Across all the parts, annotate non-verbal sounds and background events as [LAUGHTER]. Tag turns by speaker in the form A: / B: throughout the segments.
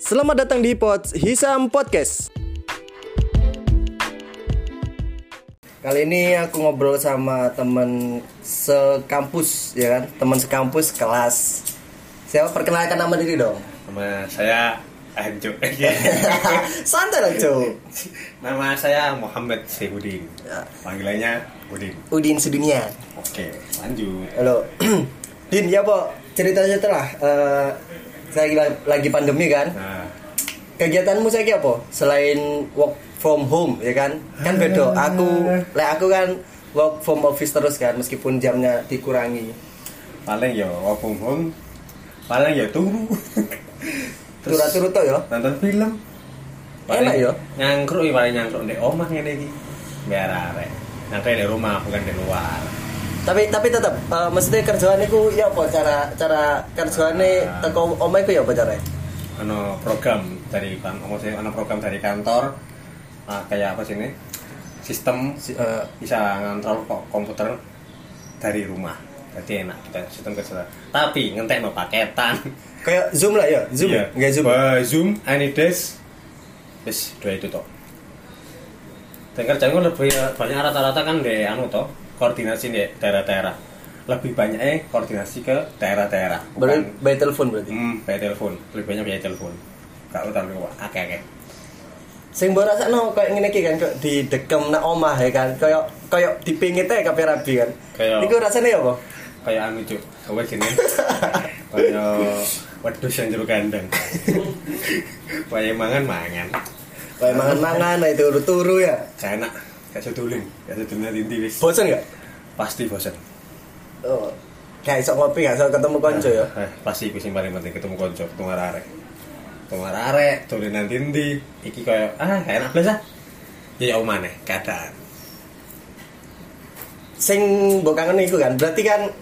A: Selamat datang di Pods Hisam Podcast. Kali ini aku ngobrol sama temen sekampus ya kan, teman sekampus kelas. Siapa perkenalkan nama diri dong. [LAUGHS]
B: Nama saya Anjo.
A: Santai lah, Cuk.
B: Nama saya Muhammad Sehudin. Panggilannya Udin.
A: Udin sedunia.
B: Oke, lanjut.
A: Halo. [CLEARS THROAT] Din, ya po, ceritanya setelah eh, saya lagi, lagi pandemi kan.
B: Nah,
A: kegiatanmu saya apa selain work from home ya kan kan bedo aku lek aku kan work from office terus kan meskipun jamnya dikurangi
B: paling ya work from home, paling ya turu. Terus
A: turu-turu to ya
B: nonton film.
A: Enak ya?
B: Nyangkruk ya paling nyangkruk di omah ngene iki. Biar arek. Nyangkruk di rumah bukan di luar.
A: tapi tapi tetap eh, mesti kerjaan iku ya apa cara cara kerjaane teko omae ku ya apa caranya
B: Ano program dari kan, maksudnya ano program dari kantor. Ah, kayak apa sih ini? Sistem
A: Si- eh,
B: bisa ngontrol kok komputer dari rumah jadi enak kita sistem kerja tapi ngetek mau paketan
A: kayak zoom lah ya [LAUGHS] zoom
B: Iya.
A: nggak zoom
B: Wah, zoom any days wis dua itu toh dan kerjaan gue lebih banyak rata-rata kan di anu toh koordinasi di daerah-daerah lebih banyak eh koordinasi ke daerah-daerah
A: Baru
B: bukan
A: by telepon berarti
B: hmm, via telepon lebih banyak via telepon kalau taruh ke akeh-akeh
A: sing mbok rasakno kayak ngene iki kan kayak didekem nang omah ya kan kayak kayak dipingit ae kabeh rabi kan
B: Kayak-
A: iku rasane ya apa
B: kayak anu cuk apa gini
A: [LAUGHS]
B: kayak wedus yang jeruk kandang kayak mangan mangan
A: kayak mangan-mangan itu turu-turu ya
B: gak enak gak sedulin gak sedulin inti wis
A: bosen gak
B: pasti bosan
A: Oh, gak iso ngopi, gak iso ketemu konco ya.
B: eh, pasti itu yang paling penting ketemu konco ketemu arek ketemu arek tulinan dindi iki kayak ah gak enak biasa ya ya omane keadaan
A: Sing mbok kangen iku kan. Berarti kan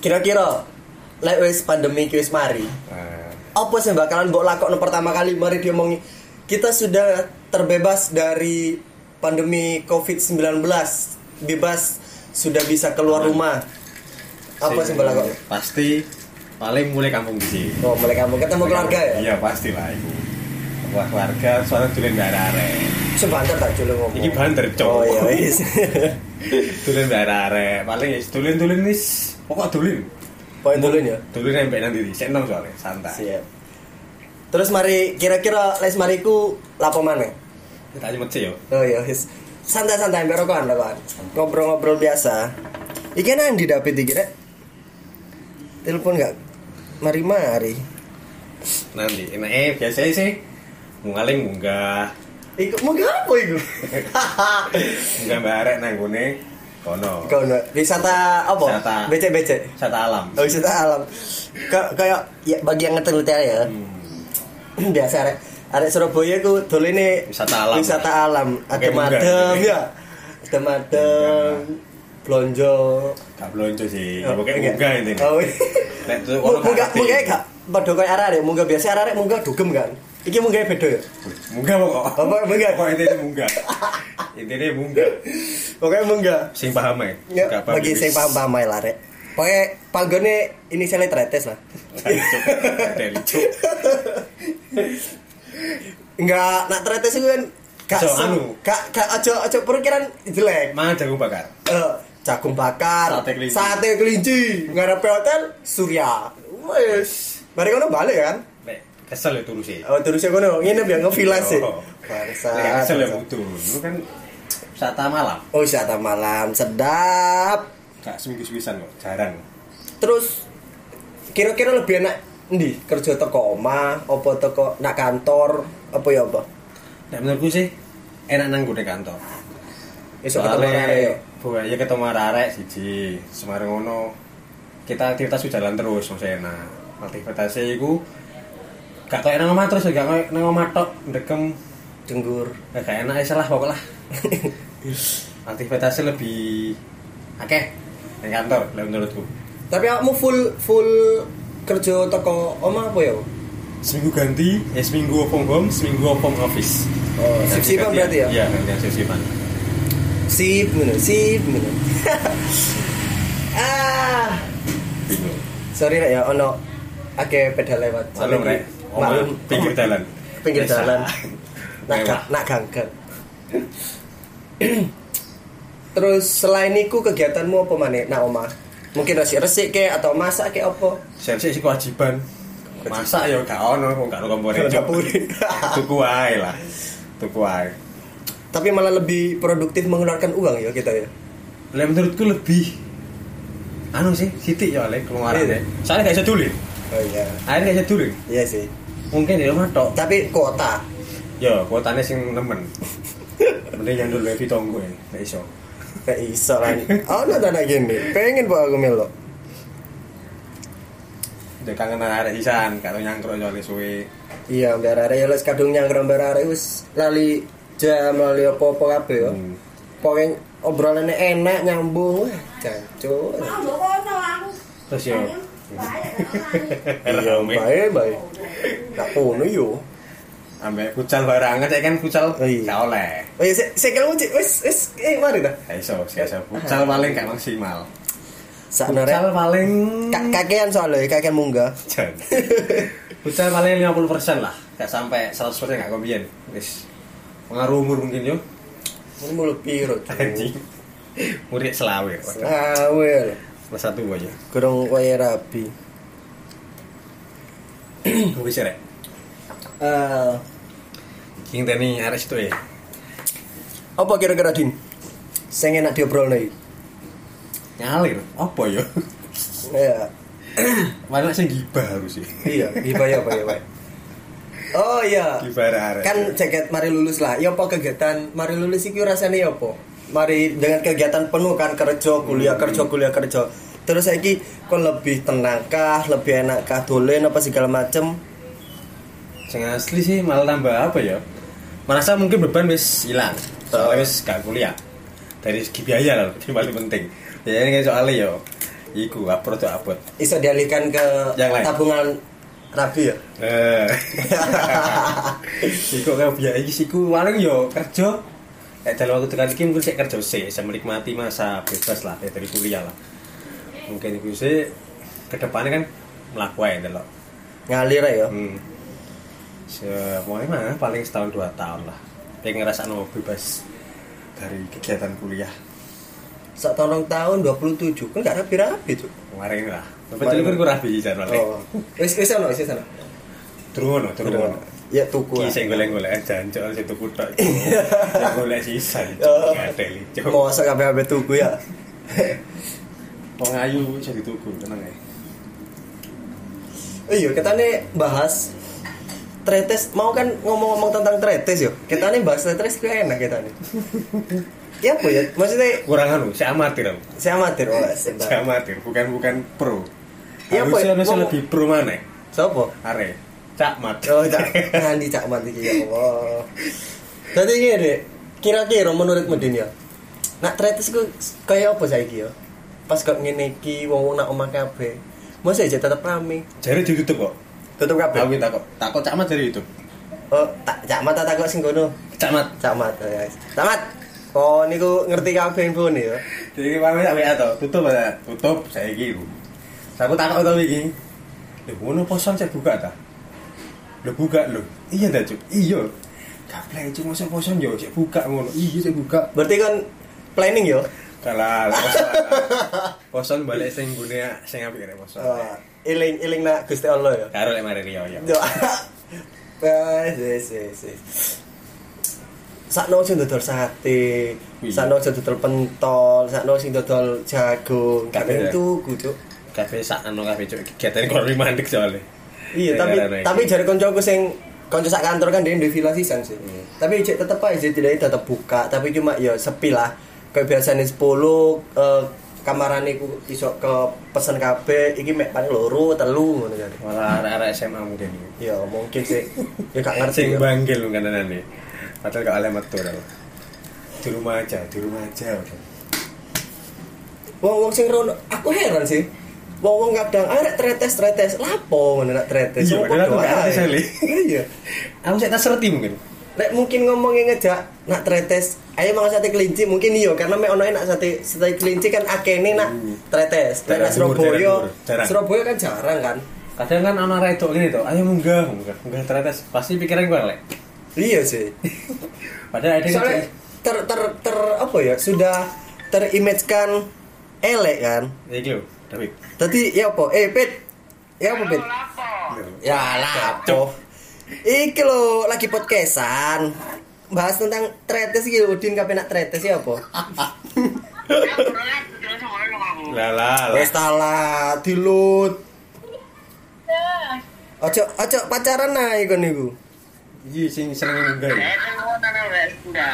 A: kira-kira lek wis pandemi iki wis mari.
B: Eh,
A: Apa sih bakalan mbok lakokno pertama kali mari diomongi kita sudah terbebas dari pandemi Covid-19. Bebas sudah bisa keluar rumah. Apa sih mbok lakokno?
B: pasti paling mulai kampung di sini
A: Oh, mulai kamu ketemu keluarga ya?
B: iya pasti lah itu Wah, keluarga soalnya tulen gak arek
A: Sebentar tak jule ngomong.
B: Iki banter, Cok.
A: Oh iya
B: [LAUGHS]
A: wis.
B: tulen daerah arek paling ya tulen tulen wis pokok tulen
A: Poin dulu ya.
B: tulen sampai nanti di seneng soalnya santai
A: Siap. Terus mari kira-kira les mariku lapo mana?
B: kita aja mesti yo
A: Oh iya, wis. santai-santai ambil rokokan, rokokan. Ngobrol-ngobrol biasa. Iki nang di dapet iki rek. Telepon gak mari-mari.
B: nanti enak eh biasanya sih mungaling munggah
A: Iku mau apa iku?
B: munggah mbak arek nanggone kono
A: Kono wisata apa?
B: Wisata.
A: Becek-becek.
B: wisata alam
A: Oh, wisata alam. Kayak kayak ya bagi yang ngetel tele ya.
B: Hmm,
A: [CLEARS THROAT] biasa arek arek Surabaya ku dolene
B: Wisata alam.
A: wisata alam
B: Oke,
A: adem
B: munggah.
A: adem ya adem adem blonjo
B: gak belonco sih ya, pokoknya munggah ini
A: oh
B: Nek tuh
A: Mu-
B: orang
A: munggah
B: ngerti.
A: munggah gak padha kaya arek arek munggah biasa arek arek munggah dugem kan iki munggah beda ya
B: munggah pokok
A: Oh, pokoknya munggah.
B: pokok intinya munggah intinya munggah
A: pokoknya munggah
B: sing paham ya
A: ya
B: Gak paham,
A: bagi
B: wis.
A: saya paham
B: [LAUGHS]
A: paham ae lah arek pokoknya panggone ini saya tretes lah
B: Cuk, dari cuk
A: enggak nak tretes itu kan gak
B: So,
A: se-
B: anu.
A: gak gak aja aja perkiraan jelek
B: mana jagung bakar
A: Eh, jagung bakar,
B: Sate kelinci.
A: sate kelinci, ngarepe hotel Surya. Wes. Mari kono balik kan?
B: Nek, kesel ya turu sih
A: Oh, terus kono nginep ya ngevilas sih.
B: Oh. Nek
A: Bangsat.
B: kesel ya butuh. Lu kan wisata malam.
A: Oh, wisata malam sedap.
B: Gak seminggu sewisan kok, jarang.
A: Terus kira-kira lebih enak ndi? Kerja teko omah, apa teko nak kantor, apa ya apa?
B: Nek menurutku sih enak nang gue kantor.
A: Esok ketemu arek ya.
B: Buaya ya ketemu arek siji. Semarang ngono. Kita aktivitas sudah jalan terus maksudnya enak. Aktivitasnya iku gak kayak nang omah terus gak kayak nang omah tok ndekem
A: Denggur.
B: gak kayak enak ya lah pokok lah.
A: [LAUGHS]
B: Aktivitasnya lebih akeh nang kantor lah menurutku.
A: Tapi kamu full full kerja teko omah apa ya?
B: Seminggu ganti, eh seminggu from home, seminggu from office.
A: Oh, sip-sipan
B: Ganti-gantian.
A: berarti ya?
B: Iya, gantian sip-sipan.
A: Sip, ngono, sip, ngono. [LAUGHS] ah,
B: Bingung.
A: sorry rek ya ono akeh pedal lewat.
B: Malam, Rek. Omong
A: Maklum.
B: Oh, pinggir jalan.
A: [LAUGHS] pinggir
B: Desa. [LAUGHS]
A: jalan nak
B: Mewah.
A: ga- nak ganggang [CLEARS THROAT] terus selain niku kegiatanmu apa maneh nak omah mungkin resik-resik ke atau masak ke apa
B: Sensei sih kewajiban. Masak ya gak ono wong gak ono kompone.
A: Gak boleh.
B: [LAUGHS] Tuku wae lah. Tuku wae.
A: tapi malah lebih produktif mengeluarkan uang ya kita ya
B: Lah menurutku lebih anu sih titik ya oleh keluaran
A: Iya.
B: ya. Soalnya gak bisa dulin.
A: oh iya
B: Akhirnya gak bisa dulin.
A: iya sih
B: Mungkin di rumah tok.
A: tapi kota
B: Ya, kuotanya sing
A: [LAUGHS]
B: nemen. Mending yang dulu Levi tonggo ya, gak iso.
A: kayak iso lah oh no anak gini pengen pak aku melo
B: Dia kangen arek sisan, gak tau nyangkruk ya oleh suwe.
A: iya biar ada ya les kadung nyangkrang biar ada wis lali jam lali apa-apa kabeh ya
B: Hmm.
A: pokoknya obrolannya enak nyambung wah jancuk
B: Terus ya,
A: iya baik baik nak kono yo
B: ambek kucal barangan, saya kan kucal
A: Oh, iya.
B: gak oleh.
A: oh iya saya saya kira wis wis eh mari dah
B: Gak iso, gak iso. Kucal paling gak maksimal.
A: sak
B: Kucal
A: norek
B: paling...
A: Ka- kakean soalnya kakean munggah
B: [LAUGHS] Jan. Kucal paling 50% lah, gak sampai 100% gak komien. Wis. Pengaruh umur mungkin yo.
A: ini mulu piro Cuk.
B: Anjing. [LAUGHS] Murid selawe.
A: Slawe lho.
B: Plus satu aja.
A: kurang kaya rapi
B: [CLEARS THROAT] Wis rek.
A: Eh,
B: King tani arek situ e. ya.
A: apa kira-kira din sing enak diobrolne iki?
B: Nyalir. Apa yo?
A: ya
B: Iya. Malah sing gibah harus e. sih.
A: iya iya ya apa ya Pak? oh iya
B: Gibah arek.
A: kan jaket mari lulus lah ya apa kegiatan mari lulus iki rasanya ya apa mari dengan kegiatan penuh kan kerja kuliah
B: Hmm.
A: kerja kuliah kerja terus saiki kon lebih tenang kah lebih enak kah dolen apa segala macem
B: sing asli sih malah tambah apa ya? Merasa mungkin beban wis hilang. Soalnya wis gak kuliah. Dari segi biaya lah, itu [LAUGHS] yang paling penting. Ya ini soalnya yo. Iku ya apot tuh apot.
A: bisa dialihkan ke
B: Yang lain.
A: tabungan rabi ya
B: Eh. [LAUGHS] Iku kan biaya iki siku paling yo kerja. Eh dalam waktu dekat iki mungkin saya kerja sih, saya menikmati masa bebas lah eh, dari kuliah lah. Mungkin iku sih kedepannya kan melakukan delok.
A: ngalir ya
B: Hmm. Semuanya mah paling setahun dua tahun lah. Pengen ngerasa no bebas dari kegiatan kuliah
A: saat tahun tahun 27 kan gak rapi-rapi tuh
B: kemarin lah. Tapi tadi kan kurang bisa
A: oh wis wis ono wis ono
B: Turun loh, turun loh.
A: ya tuku lah.
B: Ki sing golek-golek jancuk sing tuku [LAUGHS] tok. Sing golek sisan.
A: Oh.
B: Gatel ijo.
A: mau masak kabeh tuku ya [LAUGHS]
B: Wong ayu iso dituku, tenang ae.
A: Iya, kita nih bahas tretes. Mau kan ngomong-ngomong tentang tretes yo. Kita nih bahas tretes kayak enak kita [LAUGHS] nih. ya apa ya? Maksudnya
B: Kurang anu, si amatir. aku.
A: [LAUGHS] saya amatir oh,
B: Si
A: sebentar.
B: amatir, bukan bukan pro.
A: Iya,
B: Harusnya
A: Boy.
B: harusnya
A: Ngomong-
B: lebih pro mana?
A: Sopo?
B: Are. Cak mat.
A: Oh, cak nanti cak mati ya Allah. Jadi gini, kira-kira menurut Medin ya. Nak tretes ku kayak apa saiki yo? Pas kok ngene iki wong-wong nak omah kabeh. Mosok aja tetep rame.
B: [LAUGHS] Jare ditutup kok.
A: Tutup kabeh.
B: Aku takut, takut cak mat dari YouTube.
A: Oh, tak cak mata tak kok sing kono.
B: Cak mat.
A: Cak mat ya. Cak mat. Oh, niku ngerti kabeh info nih ya.
B: Jadi pamit tak WA to, tutup ya, tutup saya iki. Aku takut to iki. Lho ngono poson saya buka ta. Lho buka lho. Iya ta, Cuk. Iya. Gaplek Cuk mosok poson yo saya buka ngono. Iya saya buka.
A: Berarti kan planning yo.
B: Kalah. lah, poson. Poson balik sing gune sing apik rek poson.
A: Eh, Iling iling nak Gusti Allah yo.
B: Karo lek mari riyo yo.
A: Yo. [LAUGHS] Wes wes wes, wes. Sakno sing dodol sate,
B: Wih.
A: sakno sing dodol pentol, sakno sing dodol jagung.
B: Kabeh,
A: Kabeh
B: ya.
A: tuku, Cuk.
B: Kafe sak anu kafe Cuk. Kegiatan ekonomi mandek soalnya.
A: Iya, tapi
B: Gara-gara iki.
A: tapi jare kancaku sing kanca sak kantor kan dia duwe villa sisan sih.
B: Hmm.
A: Tapi cek tetep aja tidak tetep buka, tapi cuma ya sepi lah. Kayak biasanya 10 eh, kamarane ku iso ke pesen kabeh, iki mek paling loro, telu ngono kan.
B: malah arek-arek SMA mungkin. iki.
A: Ya mungkin sih. ya gak
B: [LAUGHS]
A: ngerti.
B: sing
A: ya.
B: banggil kan nih padahal gak oleh metu tau. di rumah aja di rumah aja
A: Wong-wong sing rono, aku heran sih. Wong-wong kadang "Ah, arek tretes-tretes, lapo ngono nak tretes.
B: Iya,
A: Wong
B: padahal aku
A: padha
B: gak ngerti,
A: ae.
B: Sally.
A: Iya.
B: aku saya tak serti mungkin
A: Lek mungkin ngomongnya ngejak nak tretes, ayo makan sate kelinci mungkin iyo karena me ono nak sate sate kelinci kan akene nak tretes. Lek
B: Daerah
A: nak
B: timur, daerah
A: Surabaya,
B: timur, jarang.
A: Surabaya kan jarang kan.
B: kadang kan anak rek itu gini tuh ayo munggah munggah munggah teretes pasti pikiran gue lek
A: iya sih
B: padahal ada yang
A: soalnya ter ter ter apa ya sudah terimajkan elek kan
B: ya gitu tapi
A: tadi ya apa eh pet ya apa pet ya lah apa iki lo lagi podcastan bahas tentang tretes gitu Udin kapan nak tretes ya apa
B: lala
A: wes talah Eh, dilut ojo ojo pacaran nah iku niku
B: iya sing seneng munggah ya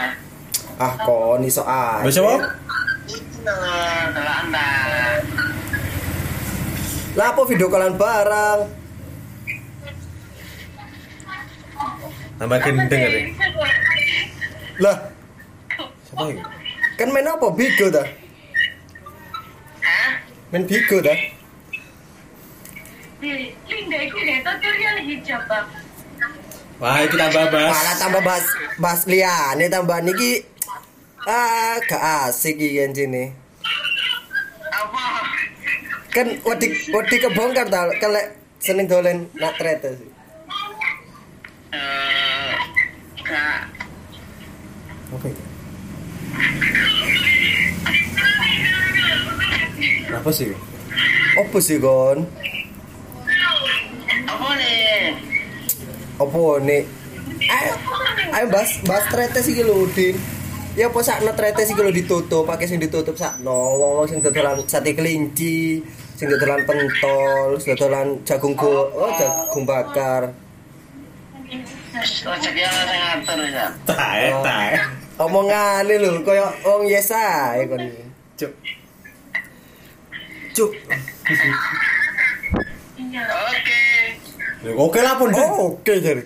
A: ah kon iso ae
B: bisa apa
A: lah apa video kalian bareng
B: tambah gendeng ya
A: lah
B: siapa itu
A: kan main apa bigo ta main bigo ta
C: Linda itu deh, tuh yang hijab bang.
B: wah itu
A: malah
B: tambah bahas
A: tambah bahas bahas liane tambah niki ah gak asik iki kan sini
C: Apa?
A: kan wedi wedi kebongkar ta kalau seneng dolen nak trete sih
C: Eh, gak.
B: apa itu apa sih itu?
A: opo sih kon
C: Apa nih?
A: opo nih ayo ayo bahas bahas trete sih lho Udin ya apa sakno trete sih lho ditutup pakai sing ditutup sakno wong wong sing dodolan sate kelinci sing dodolan pentol sing dodolan jagung go oh jagung bakar
C: Rezeki Allah yang ngatur ya.
B: tae tae
A: omongane lho koyo wong yes ae kon iki.
B: cuk
A: Cuk.
C: Oke.
B: oke lah pun Jun.
A: Oh, oke jadi.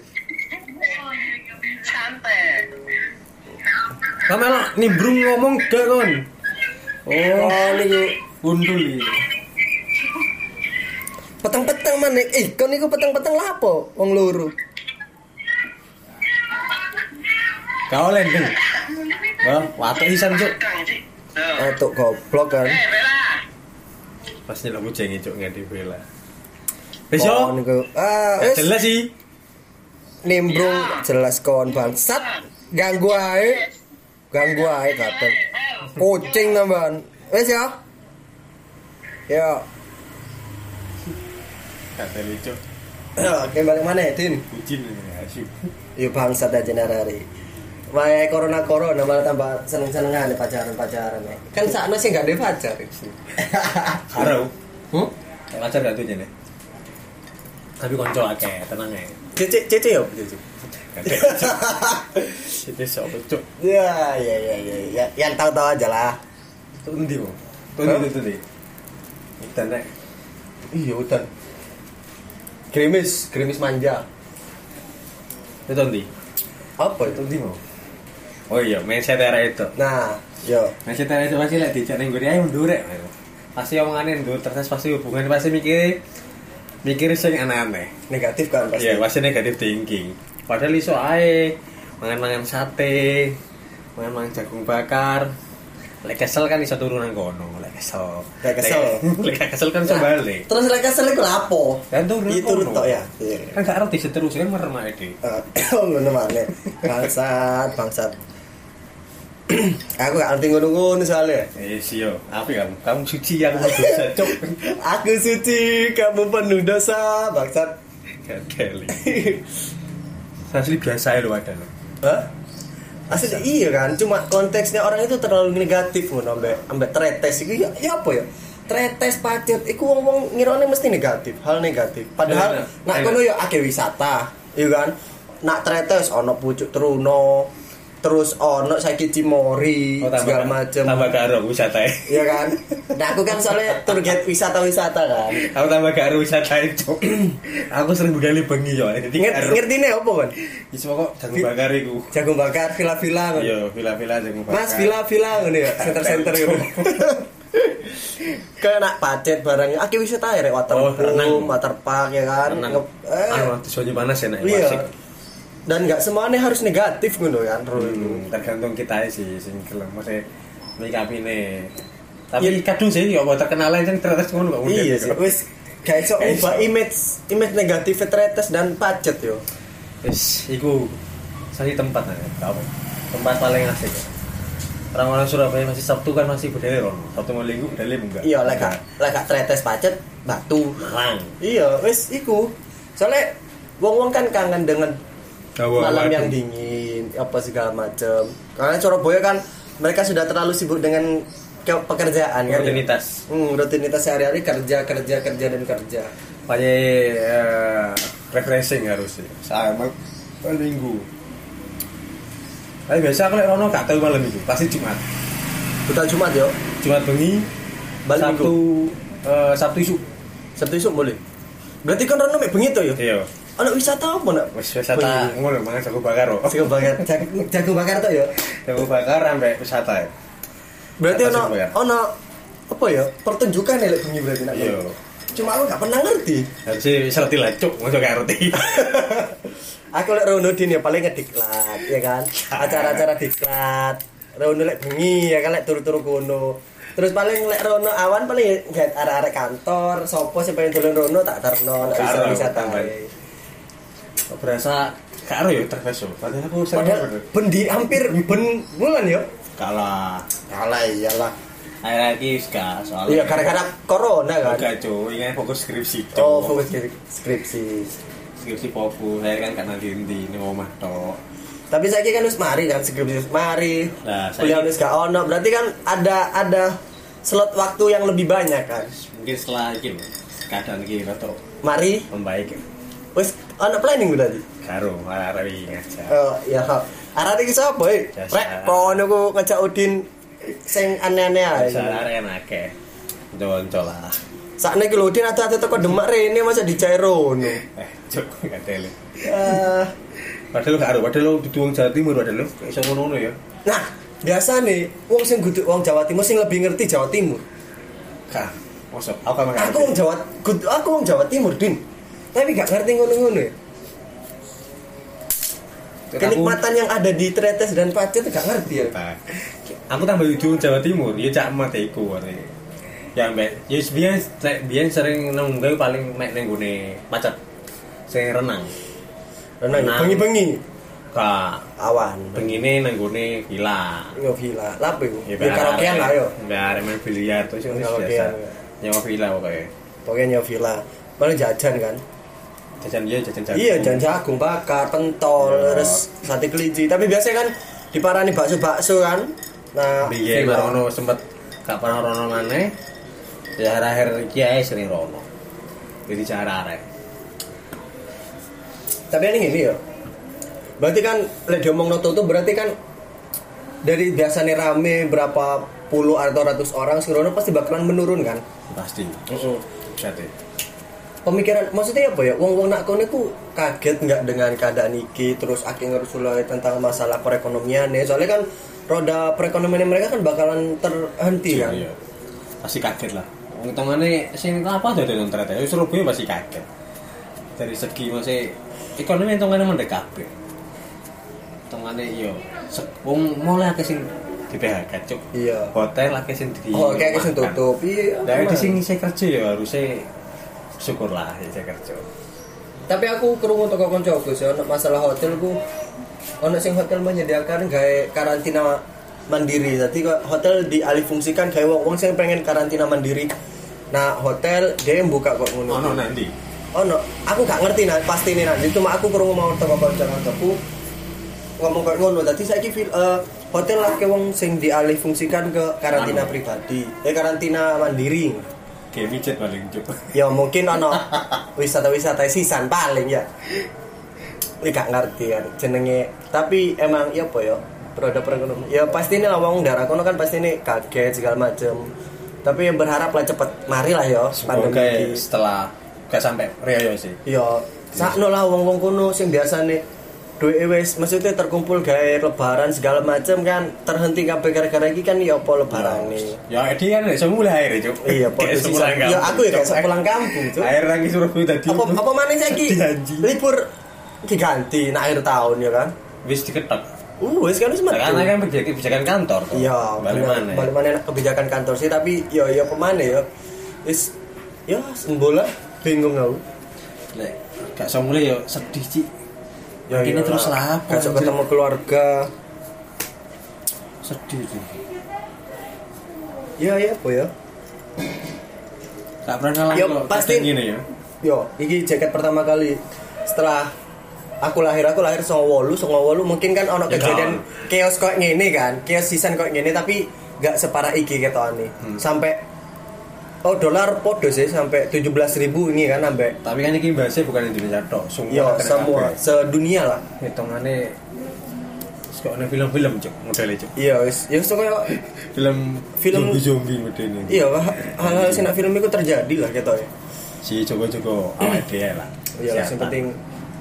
C: Santai.
B: Sama lah, nimbrung ngomong gak kan?
A: Oh, niku
B: Gundul ini.
A: peteng-peteng manik. Eh, kon niku peteng-peteng lapo wong loro.
B: Kau lendeng. Wah, watuk isan cuk.
C: Kang sih. Tuh.
A: Atuk goblok kan.
C: Eh, Bella.
B: Pasti lo kucing cuk ngerti bela.
A: Oh,
B: Besok.
A: niku. Ah, wis
B: Gak Jelas sih.
A: nimbrung gak jelas kon bangsat. Ganggu ae. Ganggu ae kabeh. Kucing tambahan. Wis ya. Ya,
B: Kata lucu.
A: oke balik mana ya, Din?
B: Kucing ini asyik.
A: Ya bangsat aja narari. Wae corona corona malah tambah seneng-senengan pacaran pacaran ya. Kan sakno sih gak ada pacar. [LAUGHS]
B: Haro.
A: Hmm?
B: Yang pacar gak tuh jadi. Tapi konco akeh, tenang ya.
A: Cece cece ya.
B: Cuk. Gak ada, [LAUGHS] Cuk. Itu siapa cuk?
A: [LAUGHS] Ya, ya, ya, ya, ya. Yang tahu-tahu aja lah.
B: Itu endi kok? Itu
A: Hah?
B: endi itu endi. Udah nek.
A: Iya, udah. Krimis, krimis manja.
B: Itu endi.
A: Apa itu?
B: Itu endi mau. Oh iya, main setera itu.
A: Nah, yo.
B: Masih tanya itu pasti lek dicari gue ayo mundur ya. Pasti omongannya mundur terus pasti hubungan pasti mikir mikir sing aneh-aneh.
A: Negatif kan pasti.
B: Iya, pasti negatif thinking. Padahal iso ae mangan-mangan sate, mangan-mangan jagung bakar. Lek kesel kan iso turunan kono, lek kesel.
A: Lek kesel.
B: Lek lek kesel kan iso balik.
A: Nah, Terus mereka selek lapo?
B: Dan Kan turun
A: Iya, turun
B: kono.
A: tok ya. Iya.
B: Kan gak arep diseteruskan merem ae deh.
A: Eh, [COUGHS] ngono maneh. Bangsat, bangsat. [COUGHS] Aku gak ngerti ngono-ngono soalnya.
B: Eh, sio, apa kamu? Kamu suci aku mau dosa, [LAUGHS] cuk.
A: Aku suci, kamu penuh dosa, bangsat. [LAUGHS]
B: Gadeli. Asli biasa ya lo ada lo.
A: Hah? Asli iya kan, cuma konteksnya orang itu terlalu negatif ngono ambek ambek tretes iku ya, ya apa ya? Tretes pacet iku wong-wong ngirone mesti negatif, hal negatif. Padahal
B: Iya, iya.
A: nak
B: Iya.
A: kono ya akeh wisata, iya kan? Nak tretes ono pucuk truno, terus ono saiki cimori, segala macem.
B: Oh, tambah karo wisata ya.
A: Iya kan? Nah aku kan soalnya tour guide wisata-wisata kan.
B: aku tambah karo wisata itu [CLEARS THROAT] aku sering begali bengi yo jadi
A: Ngerti
B: karo
A: ngerti nih apa kan?
B: iso kok jagung bakar iku
A: Jagung bakar, villa-villa kan.
B: iya vila-vila jagung bakar
A: Mas villa villa ngono ya, center center gitu. [LAUGHS] Kayak nak pacet barangnya. Aki wisata ya rek
B: Oh,
A: waterpool,
B: renang.
A: waterpark ya kan.
B: tenang
A: Nge- eh,
B: anu waktu soalnya panas ya nek
A: iya.
B: asik.
A: Dan nggak semuanya harus negatif ngono kan. Rul.
B: Hmm, tergantung kita sih sing gelem mesti ya, make up ini tapi kadung sih yo mau terkenal aja terus ngono kok
A: Iya sih, wis Gak iso
B: Gak iso.
A: ngubah image image negatif tretes dan pacet yo.
B: Wis, iku sasi tempat ya, tau. Tempat paling asik. Orang-orang Surabaya masih Sabtu kan masih berdalil loh. Sabtu malam minggu berdalil enggak?
A: Iya lek gak lek gak tretes pacet batu.
B: Malang.
A: Iya, wis iku. Soalnya wong-wong kan kangen dengan malam yang dingin apa segala macem karena Surabaya kan mereka sudah terlalu sibuk dengan ke- pekerjaan kan
B: Rutinitas.
A: hmm, rutinitas sehari-hari kerja kerja kerja dan kerja
B: Pokoknya eh, refreshing harus sih. Sama malam minggu. Tapi biasa aku lek rono gak tau malam minggu, pasti Jumat.
A: bukan Jumat yo
B: Jumat bengi,
A: Balik
B: Sabtu eh, Sabtu isu.
A: Sabtu esuk boleh berarti kan Rono mek bengi to yo
B: Iya.
A: ono wisata apa nak
B: Wis wisata ngono mangan jago bakar oh. kok.
A: jago bakar jago, jago bakar to yo
B: Jago bakar sampai wisata. ya.
A: berarti
B: Apa
A: ono
B: sih, Pak, ya?
A: ono apa ya pertunjukan ya lek bengi berarti nak
B: Iya.
A: cuma aku gak pernah ngerti
B: Harusnya serti lah cuk, ngono kayak [LAUGHS] roti.
A: [LAUGHS] aku lek Rono din ya paling ngediklat ya kan acara-acara diklat Rono lek bengi ya kan lek turu-turu kono terus paling lek Rono awan paling ya ngeliat arah-arah kantor sopo sih pengen turun Rono tak terno lek bisa
B: Karo,
A: wisata
B: tambah.
A: ae.
B: Kok berasa karo ya terpeso. Padahal aku
A: padahal
B: sering
A: bendi hampir ben bulan yo
B: kalah.
A: kalah iyalah
B: Akhir lagi ska soalnya.
A: iya gara-gara corona kan
B: Enggak cuy, ini fokus skripsi cuy.
A: oh fokus ke skripsi
B: Skripsi fokus, saya kan karena nanti ini mau mah tok.
A: tapi saya kan harus mari kan skripsi wis mari
B: Nah, saiki-
A: kuliah harus gak ono berarti kan ada ada slot waktu yang lebih banyak kan
B: Mungkin setelah ini lho, keadaan ini rata
A: mari
B: membaik.
A: Wes ana planning gue tadi.
B: Karo arah-arah ini aja.
A: Oh ya. Arah iki sapa e?
B: Jasa.
A: Rek kono ku ngejak Udin sing aneh-aneh ae.
B: Salah yang akeh. Jonco lah.
A: Sakne ki lho, Udin atuh-atuh teko Demak rene masa di Jairono.
B: Eh, cuk, gak tele.
A: Eh,
B: Padahal karo, padahal lo di Tuang Jawa Timur padahal lo kayak iso ngono ya.
A: Nah, biasa nih wong sing kudu wong Jawa Timur sing lebih ngerti Jawa Timur.
B: Kak, mosok aku kan
A: Aku wong Jawa kudu aku wong Jawa Timur, Din. Tapi gak ngerti ngono-ngono ya. Kenikmatan yang ada di Tretes dan Pacet gak ngerti ya.
B: Nah, aku tambah ujung Jawa Timur, ya cak mat iku arek. Ya mbek, ya wis biyen lek biyen sering nang gawe paling mek ning gone macet. Sing renang.
A: Renang
B: Renang.
A: Nah, bengi-bengi
B: Ka
A: awan.
B: pengine nang gone villa.
A: Yo gila, lapo iku? Yo
B: biar
A: karaokean lah
B: arek-
A: yo.
B: Biar arek main biliar terus wis
A: Karaokean,
B: biasa.
A: ya.
B: Nyawa villa pokoknya.
A: pokoknya villa paling jajan kan
B: Jajan dia jajan jajan.
A: iya jajan jagung bakar pentol
B: Iya.
A: terus sate kelinci tapi biasanya kan diparani bakso bakso kan nah
B: Biyen
A: villa.
B: rono sempet gak pernah rono maneh. Ya akhir-akhir iki ae sering rono. Jadi cara arek.
A: tapi ini gini ya berarti kan lek diomong noto tuh berarti kan dari biasanya rame berapa puluh atau ratus orang serono pasti bakalan menurun kan
B: Pasti. Jadi.
A: pemikiran maksudnya apa ya wong wong nak kono ku kaget nggak dengan keadaan iki terus akhirnya ngerusulai tentang masalah perekonomian ya soalnya kan roda perekonomian mereka kan bakalan terhenti kan
B: Iya. Pasti kaget lah. Wong tongane sing apa dadi nang ternyata ya Surabaya pasti kaget. Dari segi masih ekonomi tongane mendek kabeh. Tongane yo se- wong mulai akeh sing di PHK cuk.
A: Iya.
B: Hotel akeh sing di
A: Oh, kayak kesini tutup. Iya.
B: Dari
A: aman.
B: di sini saya kerja ya harusnya syukurlah ya saya kerja.
A: Tapi aku kerungu toko koncoku sih, ono masalah hotel ku, ono sing hotel menyediakan gawe karantina mandiri. Jadi kok hotel dialih fungsikan gawe wong wong sing pengen karantina mandiri. Nah hotel dia yang buka kok ngono.
B: Ono nanti.
A: Ono, aku gak ngerti nah pasti ini nanti. Cuma aku kerungu mau toko konco koncoku ngomong kok ngono. Jadi saya kira eh, hotel lah ke wong sing dialih fungsikan ke karantina
B: Anu.
A: pribadi, eh karantina mandiri.
B: Kayak mijet paling cuk.
A: Ya mungkin ono wisata-wisata sisan paling ya. Ini gak ngerti kan jenenge. Tapi emang ya apa ya? Produk perekonomian. Ya pasti ini lah wong darah kono kan pasti ini kaget segala macem. Tapi yang berharap lah cepet. Marilah ya pandemi
B: Semoga
A: ini.
B: setelah gak sampai Rio sih.
A: Ya sakno lah wong-wong kono sing biasane duwe wis maksudnya terkumpul gawe lebaran segala macem kan terhenti kabeh gara-gara iki kan ya apa lebaran nih.
B: Ya, Edi kan bisa mulai akhir, Cuk. [LAUGHS]
A: Iya,
B: Kayak
A: podcast
B: sepulang
A: season.
B: kampung,
A: Ya, aku ya
B: Cuk.
A: kayak sepulang kampung, Cuk.
B: Akhir lagi Surabaya tadi.
A: Apa apa mana saiki?
B: Dijanji.
A: Libur diganti nah akhir tahun ya kan.
B: Wis diketok.
A: Uh, wis kan wis metu.
B: Karena kan kebijakan kebijakan kantor. toh.
A: Iya,
B: balik
A: bener.
B: mana? ya?
A: ya, Balik mana enak kebijakan kantor sih, tapi yo yo pemane yo. Is yo sembola ya, bingung aku
B: Lek, gak iso mulai ya sedih cik. Ya ini
A: iyalah.
B: terus lah apa?
A: Gak
B: anjir?
A: ketemu keluarga
B: Sedih sih.
A: ya ya apa ya
B: Gak pernah ngalahin
A: Ya,
B: kok,
A: pasti-
B: kayak gini ya.
A: Yo, iki jaket pertama kali setelah aku lahir aku lahir songo wolu songo wolu mungkin kan ono
B: Ya,
A: kejadian
B: kan.
A: chaos kok ngene kan chaos season kok ngene tapi gak separah iki ketokan nih sampai oh dolar podo sih sampai 17.000 ribu ini kan sampai
B: Tapi kan ini bahasnya bukan Indonesia tok, semua
A: yo
B: kena
A: semua
B: kabeh.
A: sedunia lah
B: Hitungannya Sekok ada film-film cok, modelnya cok
A: iya wis ya wis koyo
B: Film,
A: Film-
B: zombie-zombie modelnya
A: iya ha- hal-hal sing nak film iku terjadi lah ketoke
B: Si Joko-Joko, awet dia lah
A: iya lah, yang
B: Kesehatan.
A: penting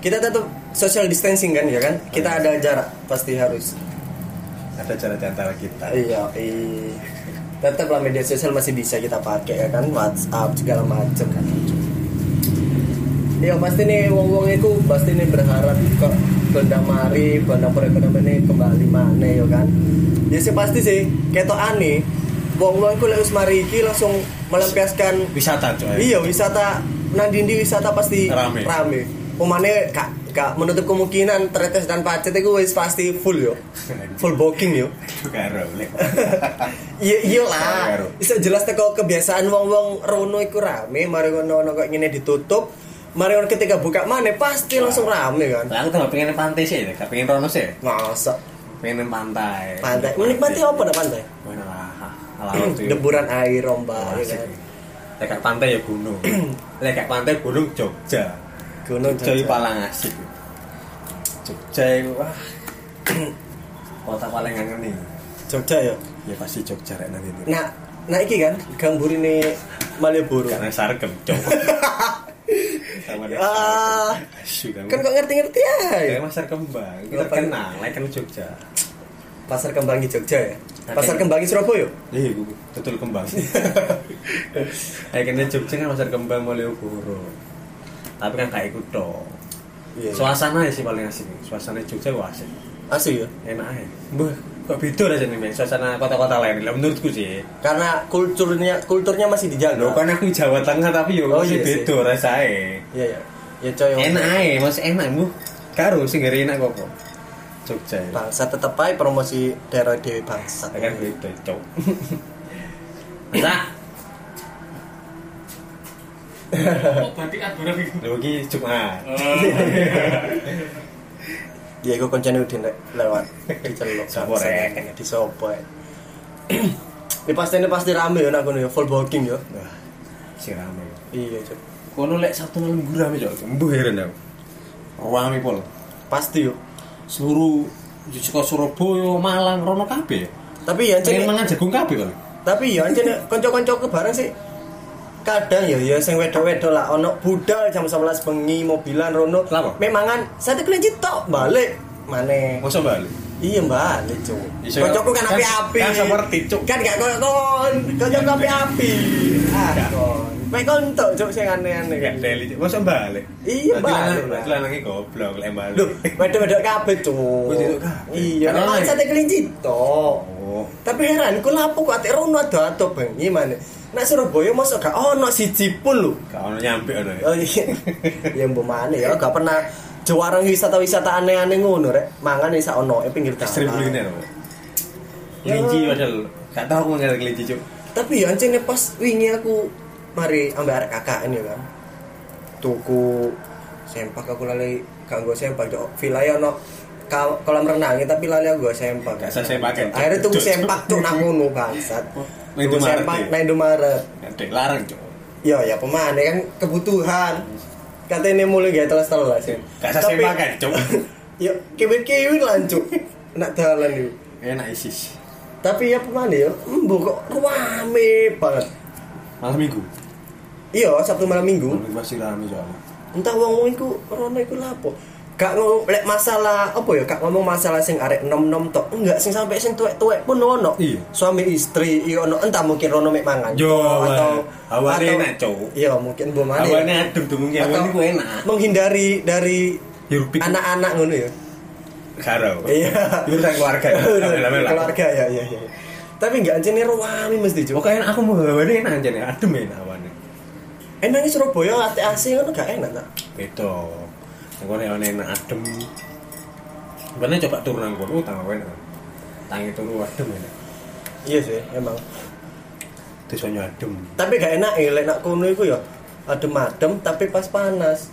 A: kita tetap social distancing kan ya kan kita ada jarak pasti harus
B: Ada jarak di antara kita
A: Iya, iya. Tetaplah media sosial masih bisa kita pakai ya kan WhatsApp segala macam kan. Iya pasti nih wong-wong itu pasti nih berharap ke benda mari benda perekonomian ini kembali mana ya kan. Ya sih pasti sih ketok aneh. Wong-wong itu lewis mari iki langsung melampiaskan
B: Wisata cok
A: iya
B: ya.
A: wisata Nandindi wisata pasti
B: Rame.
A: rame. Pemane kak kak menutup kemungkinan teretes dan pacet itu wis pasti full yo. Full booking yo.
B: Karo, lek.
A: Iya iya lah.
B: Karo.
A: Bisa jelas teko kebiasaan wong-wong rono iku rame, mari ngono ono kok ngene ditutup. Mari ngono ketika buka mana pasti langsung rame kan.
B: [LAUGHS] Lah aku tambah pengen pantai sih, gak pengen rono sih
A: Masa
B: Pengen pantai
A: Eh, pantai. ya. Menikmati apa dah pantai?
B: Mana lah,
A: [CLEARS THROAT]
B: alamat tuh
A: Deburan air ombak ya
B: Asik.
A: kan.
B: Lek gak pantai ya
A: [CLEARS THROAT]
B: gunung Lek gak pantai gunung Jogja
A: Gunung
B: Jogja itu
A: Jogja. ya,
B: paling asik Jogja itu wah [CLEARS THROAT] kota paling kangen nih
A: Jogja ya.
B: ya pasti Jogja rek nanti itu
A: Nah, nah iki kan gambur ini Malioboro.
B: karena sarkem cok sama dia
A: Ah,
B: Asyik
A: [LAUGHS] kan kok ngerti-ngerti ya.
B: kayak mas kembang kita
A: Apa?
B: kenal lek kan Jogja
A: Pasar Kembangi Jogja ya.
B: Oke.
A: Pasar Kembangi Surabaya.
B: iya gue betul kembang [LAUGHS] akhirnya Jogja kan pasar kembang Malioboro tapi kan kayak ikut dong
A: Iya.
B: suasana ya sih paling asik suasana Jogja wah asik
A: Asli ya.
B: enak aja Mbah, kok beda lah jadi men suasana kota-kota lain lah menurutku sih
A: Karena kulturnya kulturnya masih dijaga.
B: Loh, kan aku Jawa Tengah tapi yo
A: Oh, iya
B: masih
A: sih.
B: beda rasanya
A: Iya ya. Ya coy.
B: enak aja masih enak bu karo sih ngeri enak kok kok Jogja ya.
A: bangsa tetep aja promosi daerah dewi bangsa
B: Ya kan beda cok masa
D: Kok batik adorang itu? Oh.
B: lu ini Jumat
A: ya gue koncane udah nek lewat dicelok
B: Sopo, Rek?
A: di sopo ini pasti ini pasti rame ya nak kono ya full booking ya
B: Wah, si rame
A: iya Cuk.
B: kono lek Sabtu malam gue rame cok mbuh heran aku rame pol
A: pasti yo
B: seluruh Jogja Surabaya Malang Rono kabeh
A: tapi ya
B: pengen
A: anjene
B: mangan jagung kabeh kali
A: tapi ya anjene kanca-kanca ke bareng sih kadang ya ya sing wedo-wedo lah ono budal jam 11 bengi mobilan rono
B: Lapa?
A: memangan sate kelinci tok balik mana
B: masa balik
A: Iya balik cuk.
B: Iso-
A: Kocokku kan
B: kan-
A: api-api.
B: kan seperti, Cuk.
A: Kan gak koyo kon. Kocokku api-api. Ah,
B: Gak.
A: kon. Mek kon tok cuk sing aneh-aneh. kan.
B: Gak deli, Cuk. masa balik?
A: Iya, balik, Pak.
B: Celananya goblok, lek balik.
A: Loh, wedok-wedok kabeh cuk.
B: Wis itu kabeh.
A: Iya,
B: Karena
A: kan
B: lain.
A: sate kelinci tok.
B: Oh,
A: Tapi heran, ku lapo kok atik rono ado-ado bengi maneh. Nek Surabaya mosok gak ono siji pun lho.
B: gak ono nyampe ono ya.
A: Oh iya. Ya mbok maneh ya gak pernah Jawarang wisata-wisata aneh-aneh ngono rek. Mangan isa ono eh, pinggir dalan.
B: Ekstrim kuliner. Pak. Kelinci
A: Ya.
B: padahal gak tau aku nyari kelinci, Cuk.
A: tapi ya anjingnya pas wingi aku mari ambil arek kakak ini kan tuku sempak aku lali kanggo sempak cok vilaya no ka- kolam renangnya tapi lali aku gak sempak
B: Gak usah sempakan, Cuk.
A: akhirnya tuku
B: Cuk, cuk.
A: sempak cok nang ngono bangsat
B: Nang
A: tuku
B: Indomaret
A: sempak
B: ya?
A: nang Indomaret
B: Gak ada yang larang, Cuk.
A: ya ya pemane kan kebutuhan katanya mulai gak telas telas ya
B: Gak usah
A: Tapi-
B: sempakan,
A: [LAUGHS]
B: Cuk.
A: ya kiwin kiwin lancuk nak dalan yuk
B: Enak isis.
A: tapi ya pemane ya embo kok rame banget
B: Malam Minggu.
A: iya sabtu malam minggu
B: Malam Minggu pasti rame soalnya.
A: entah wong wong iku rono iku lapo gak ngomong lek masalah apa ya gak ngomong masalah sing arek nom nom tok enggak sing sampai sing tuwek tuwek pun ono
B: Iya.
A: suami istri iya ono entah mungkin rono mek mangan
B: Yo,
A: Cok,
B: awane enak, Cok.
A: iya mungkin bu mana ya.
B: Awannya adem demungnya, awan
A: Atau
B: itu iya, enak.
A: menghindari dari
B: Hirupik.
A: anak-anak ngono ya
B: Karo.
A: iya
B: Urusan keluarga.
A: [LAUGHS]
B: Lama-lama lah.
A: keluarga ya iya iya tapi enggak anjene rame mesti cuk
B: Pokoknya aku mau hawannya enak aja nih, adem enak ya, awannya.
A: enaknya Surabaya latih AC kan gak enak tak?
B: beda aku hewan enak adem sebenarnya coba turun nang kono tangan kowe enak tangi turu adem ya, enak
A: iya sih emang
B: desanya adem
A: tapi gak enak ya lek nak kono iku ya adem-adem tapi pas panas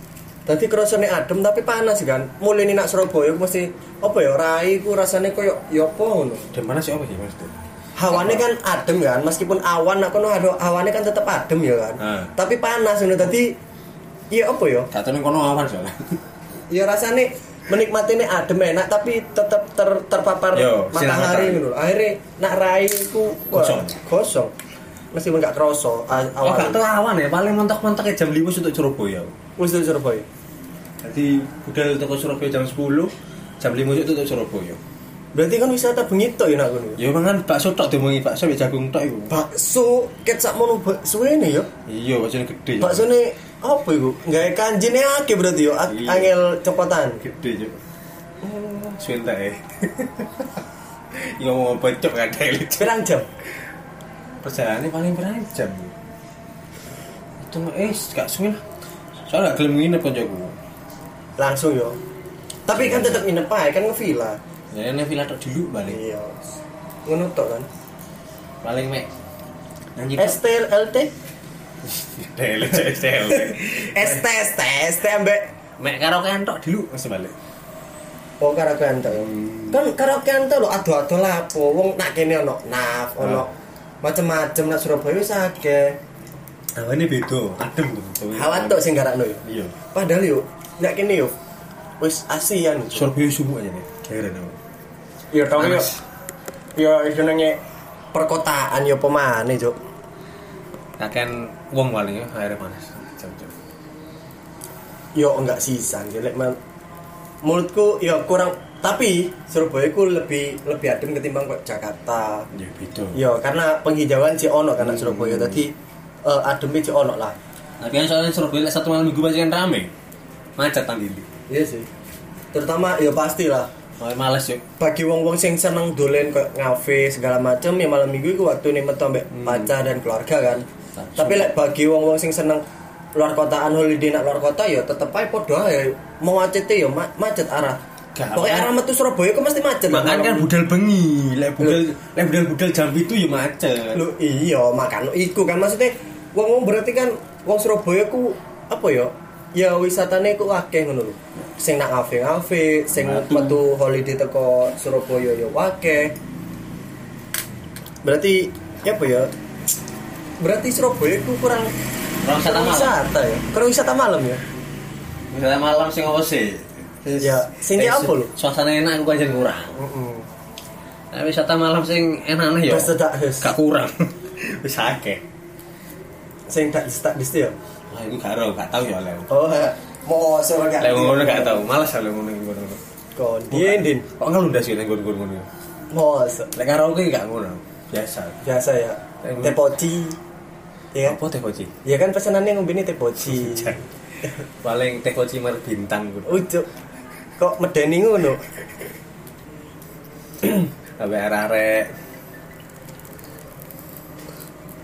A: Tadi kerasane adem tapi panas kan. Mulai ini nak Surabaya aku mesti apa ya rai ku rasane koyo ya apa ngono.
B: dan mana sih apa sih mas tuh
A: Hawane kan adem kan meskipun awan nak kono ada hawane kan tetap adem ya kan.
B: Hmm.
A: Tapi panas ngono tadi ya apa ya?
B: kata nang kono awan soalnya
A: Ya rasane menikmati ini adem enak tapi tetap ter- terpapar
B: Yo, sinar matahari.
A: matahari ngono. Akhirnya nak rai ku wah,
B: Gosong.
A: Gosong. Meskipun gak kroso a-
B: oh
A: awan.
B: gak tau awan ya paling mentok-mentoknya jam 5 untuk Surabaya
A: Wis dari Surabaya.
B: jadi budal toko Surabaya jam 10 jam 5 itu tutup Surabaya
A: Berarti kan wisata bengi tok ya nak ngono. ya?
B: ya mangan bakso tok diomongi bakso ya jagung tok iku
A: Bakso kecap mono bakso ini ya.
B: iya bakso gede ya.
A: Bakso ini apa iku? Gawe kanjine akeh berarti ya. a-
B: Iya.
A: Angel cepetan.
B: gede juga Suwenta [LAUGHS] ya Ini Ya ngomong apa cok gak ada elit
A: Pirang jam?
B: Perjalanannya paling berapa jam Itu eh gak suwe lah Soalnya gak gelem nginep aja aku
A: Langsung ya. Tapi kan tetap nginep ae kan ngevilla.
B: Ya ini villa tok dulu balik
A: Iya. Ngono tok kan.
B: Paling mek Nanti
A: ST LT
B: Ada elit cok ada elit.
A: ST ST ST ambek
B: Mek karaokean tok dulu Masih balik
A: Oh karaokean tok. ya. Kan karaokean tok lho ado-ado lapo wong nak kene ono naf
B: Iya.
A: ono macem-macem nak Surabaya wis akeh.
B: Hawa ini beda Adem tuh
A: Hawa tok sing garakno ya.
B: Iya
A: Padahal yuk, nggak kini yuk, wis ASEAN.
B: Surabaya sumuk aja nih Heran aku
A: Iya tau
B: Panas.
A: yuk, ya jenenge perkotaan yo pemane cuk.
B: Kakean wong paling ya Akhirnya panas Jam-jam
A: Yo enggak sisan jelek man. Mulutku yo kurang tapi Surabaya ku lebih lebih adem ketimbang kok Jakarta.
B: Ya beda
A: Yo karena penghijauan si ono karena
B: Hmm.
A: Surabaya tadi eh, ademnya si ono lah.
B: Tapi kan soalnya Surabaya lek satu malam minggu pasti kan rame. Macet kan, tang dindi.
A: Iya sih. Terutama yo pastilah
B: Oh, males yuk.
A: bagi wong-wong sing seneng dolen kayak ngafe segala macem ya malam minggu itu waktu nih metu ambek pacar dan keluarga kan
B: Hmm. Langsung.
A: tapi lek bagi wong-wong sing seneng luar kotaan holiday nak luar kota ya tetep ae padha ae mau macet ya ma- macet arah
B: Gak
A: pokoknya
B: apa.
A: arah metu Surabaya kok mesti macet
B: Makan kan budal bengi, lek budal lek budal-budal jam itu ya macet.
A: lu iya makan iku kan maksudnya wong-wong berarti kan wong Surabaya ku apa ya ya wisatane ku akeh ngono lho sing nak ngafe ngafe sing
B: Metu.
A: metu holiday teko Surabaya ya akeh berarti ya apa ya berarti Surabaya ku kurang
B: Kurang
A: kurang
B: wisata malam.
A: wisata ya kurang wisata malam ya
B: Misalnya malam sing apa sih? Terus-
A: Ya, sing
B: terus
A: apa lu?
B: Suasana enak aku aja kurang. Tapi wisata malam sing enak nih ya.
A: Wis sedak, wis.
B: Gak
A: [LAUGHS]
B: kurang. Wis akeh.
A: sing tak tak disti ya
B: Wah, itu gak ero, gak tau ya lek.
A: oh mau soal gak
B: Lek ngono gak tau, males lek ngono iki ngono.
A: kon din din
B: Kok ngelundas ya lek ngono ngono.
A: mau
B: Lek karaoke gak ngono. Biasa.
A: biasa ya
B: Lek-
A: teh poci ya kan?
B: Apa teh koci?
A: Ya kan pesanannya ngombene teh
B: [LAUGHS]
A: poci.
B: Paling teh koci mer bintang gitu.
A: Ujuk. Kok medeni ngono?
B: Sampai arek-arek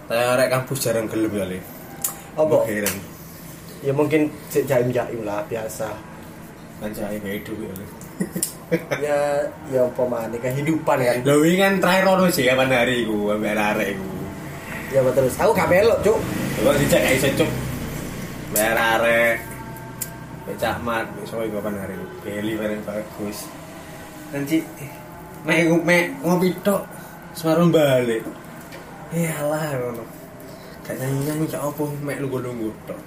B: Tapi arek kampus jarang gelem ya Le
A: Apa?
B: Heran
A: Ya mungkin sik jaim-jaim lah biasa.
B: Kan saya beda ya Le [LAUGHS]
A: Ya ya apa maneh kehidupan kan.
B: Lho ini kan terakhir ono sih kapan hari iku Sampai arek-arek iku
A: Ya apa terus. Aku gak melok, Cuk.
B: Coba dijak gak iso cuk Sampai arek-arek Sampai Cak Mat Besok iku kapan hari iku Beli bareng bagus Nanti Mek mek ngopi tok Semarang balik Iyalah ngono. Gak nyanyi-nyanyi gak apa mek lungguh-lungguh tok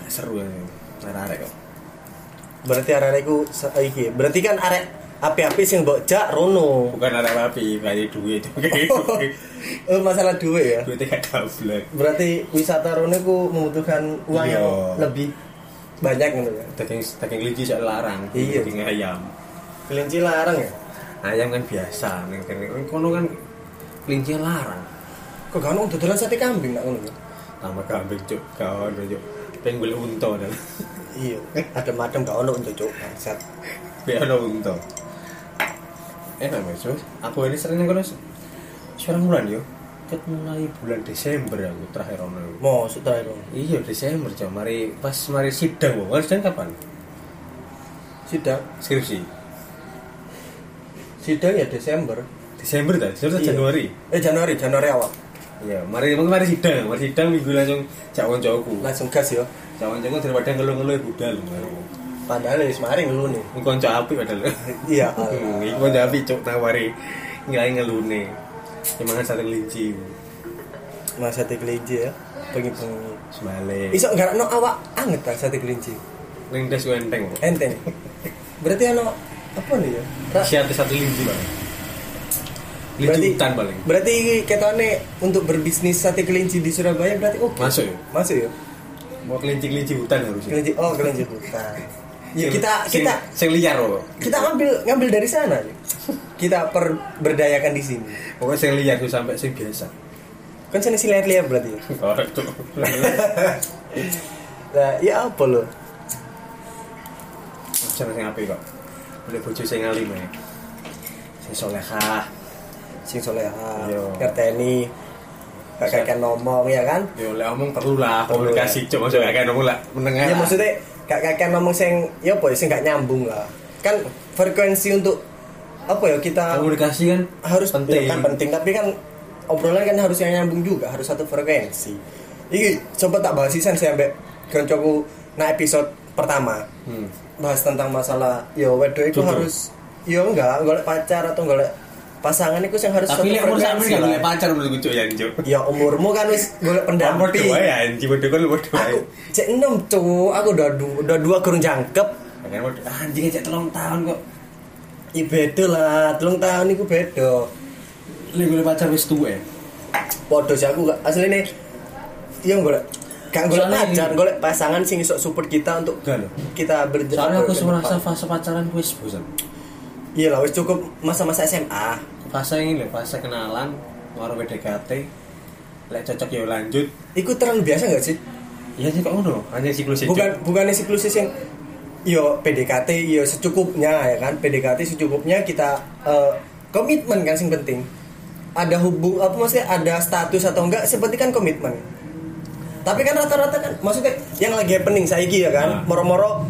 B: Gak seru ya Arek-arek kok
A: Berarti arek iku se- iki. Berarti kan arek api-api sing mbok jak
B: [LAUGHS]
A: rono.
B: bukan arek api kali duit [LAUGHS]
A: Eh masalah duit ya.
B: duitnya gak double
A: Berarti wisata rono iku membutuhkan uang
B: Iya.
A: yang lebih banyak gitu kan.
B: daging daging kelinci saya larang
A: Iya.
B: daging ayam
A: Kelinci larang ya.
B: ayam kan biasa neng kene kan kono kan kelinci larang
A: Kok gak ono dodolan sate kambing nak ngono. ya?
B: tambah kambing cuk kawan cuk pengen unta dan [LAUGHS]
A: Iya, adem-adem gak ono untuk cuk bangsat.
B: biar ada unta enak mas Cuk. aku ini sering neng kono seorang bulan yo tiket mulai bulan Desember aku terakhir ono aku.
A: mau terakhir dong
B: Iya Desember jam mari pas mari sidang wong. Mari sidang kapan?
A: sidang
B: Skripsi.
A: sidang ya Desember
B: Desember dah,
A: Iya.
B: Desember atau Januari.
A: eh Januari Januari awal
B: Iya, mari mungkin mari sidang, mari sidang minggu langsung cak koncoku.
A: langsung gas ya
B: Cak koncoku daripada ngeluh-ngeluh ya budal.
A: padahal ya semarin dulu nih
B: Ini konco apik padahal. [LAUGHS]
A: [LAUGHS] iya
B: Hmm, Ini konco apik cuk nawari ngilain ngelune. Emang sate kelinci.
A: mas sate kelinci ya pengi-pengi
B: Semale.
A: Isok nggak no awak anget lah sate kelinci
B: Ning des ku enteng kok.
A: enteng berarti ano apa nih ya Ra-
B: Siate satu kelinci, Bang. Kelinci
A: berarti
B: hutan paling.
A: berarti ketone untuk berbisnis sate kelinci di Surabaya berarti oke
B: Masuk ya.
A: masuk ya
B: Mau kelinci-kelinci hutan harusnya.
A: kelinci oh kelinci
B: [LAUGHS]
A: hutan ya,
B: Sing-
A: kita
B: sing-
A: kita
B: sing liar kok.
A: kita ngambil ngambil dari sana ya. kita perberdayakan di sini
B: Pokoknya sing liar tuh sampai sing biasa.
A: kan sana si lihat berarti ya.
B: Oh, itu.
A: nah ya apa lo
B: Jangan sing apik kok. Boleh bojo sing alim ya. Sing solehah.
A: sing soleha
B: Iya.
A: ngerteni gak kayak ngomong ya kan
B: Yo lek omong perlu lah
A: Perlu
B: komunikasi cuk masuk gak kayak omong lah
A: ya
B: menengah. lah.
A: maksudnya gak kayak ngomong sing ya apa ya, sing gak nyambung lah kan frekuensi untuk apa ya kita
B: komunikasi kan
A: harus
B: penting.
A: ya kan penting tapi kan obrolan kan harus yang nyambung juga harus satu frekuensi ini coba tak bahas isan sih sampai koncoku nah episode pertama
B: Hmm.
A: bahas tentang masalah yo wedo itu
B: Tutup.
A: harus yo enggak golek pacar atau golek pasangan itu yang harus
B: Tapi lek umur sampean gak
A: lah.
B: boleh pacar menurutku cuk ya cuk.
A: ya umurmu kan wis golek
B: Nomor
A: pendamping
B: dua ya, anjing bodoh kan nomor dua.
A: aku cek enam tuh aku udah du- udah dua kurang jangkep
B: Makanya bodoh. Ah, Anjing aja telung tahun kok.
A: ya bedo lah telung tahun itu bedo
B: Lek boleh pacar wis tuwek.
A: Waduh sih aku gak asli nih yang golek gak golek
B: Soalnya
A: pacar
B: ini-
A: golek pasangan sing iso support kita untuk
B: Enggak loh.
A: kita berjalan
B: Soalnya aku
A: berdepan.
B: merasa fase pacaran gue wis bosan.
A: iya lah wis cukup masa-masa SMA
B: Fase ini loh, fase kenalan, baru PDKT. Lek cocok ya lanjut.
A: itu terlalu biasa gak sih
B: Iya sih kok ngono, hanya siklus itu.
A: bukan bukannya siklusis yang yo PDKT yo secukupnya ya kan PDKT secukupnya kita eh, komitmen kan sing penting ada hubung apa maksudnya ada status atau enggak seperti kan komitmen tapi kan rata-rata kan maksudnya yang lagi happening saiki ya kan
B: Nah.
A: moro-moro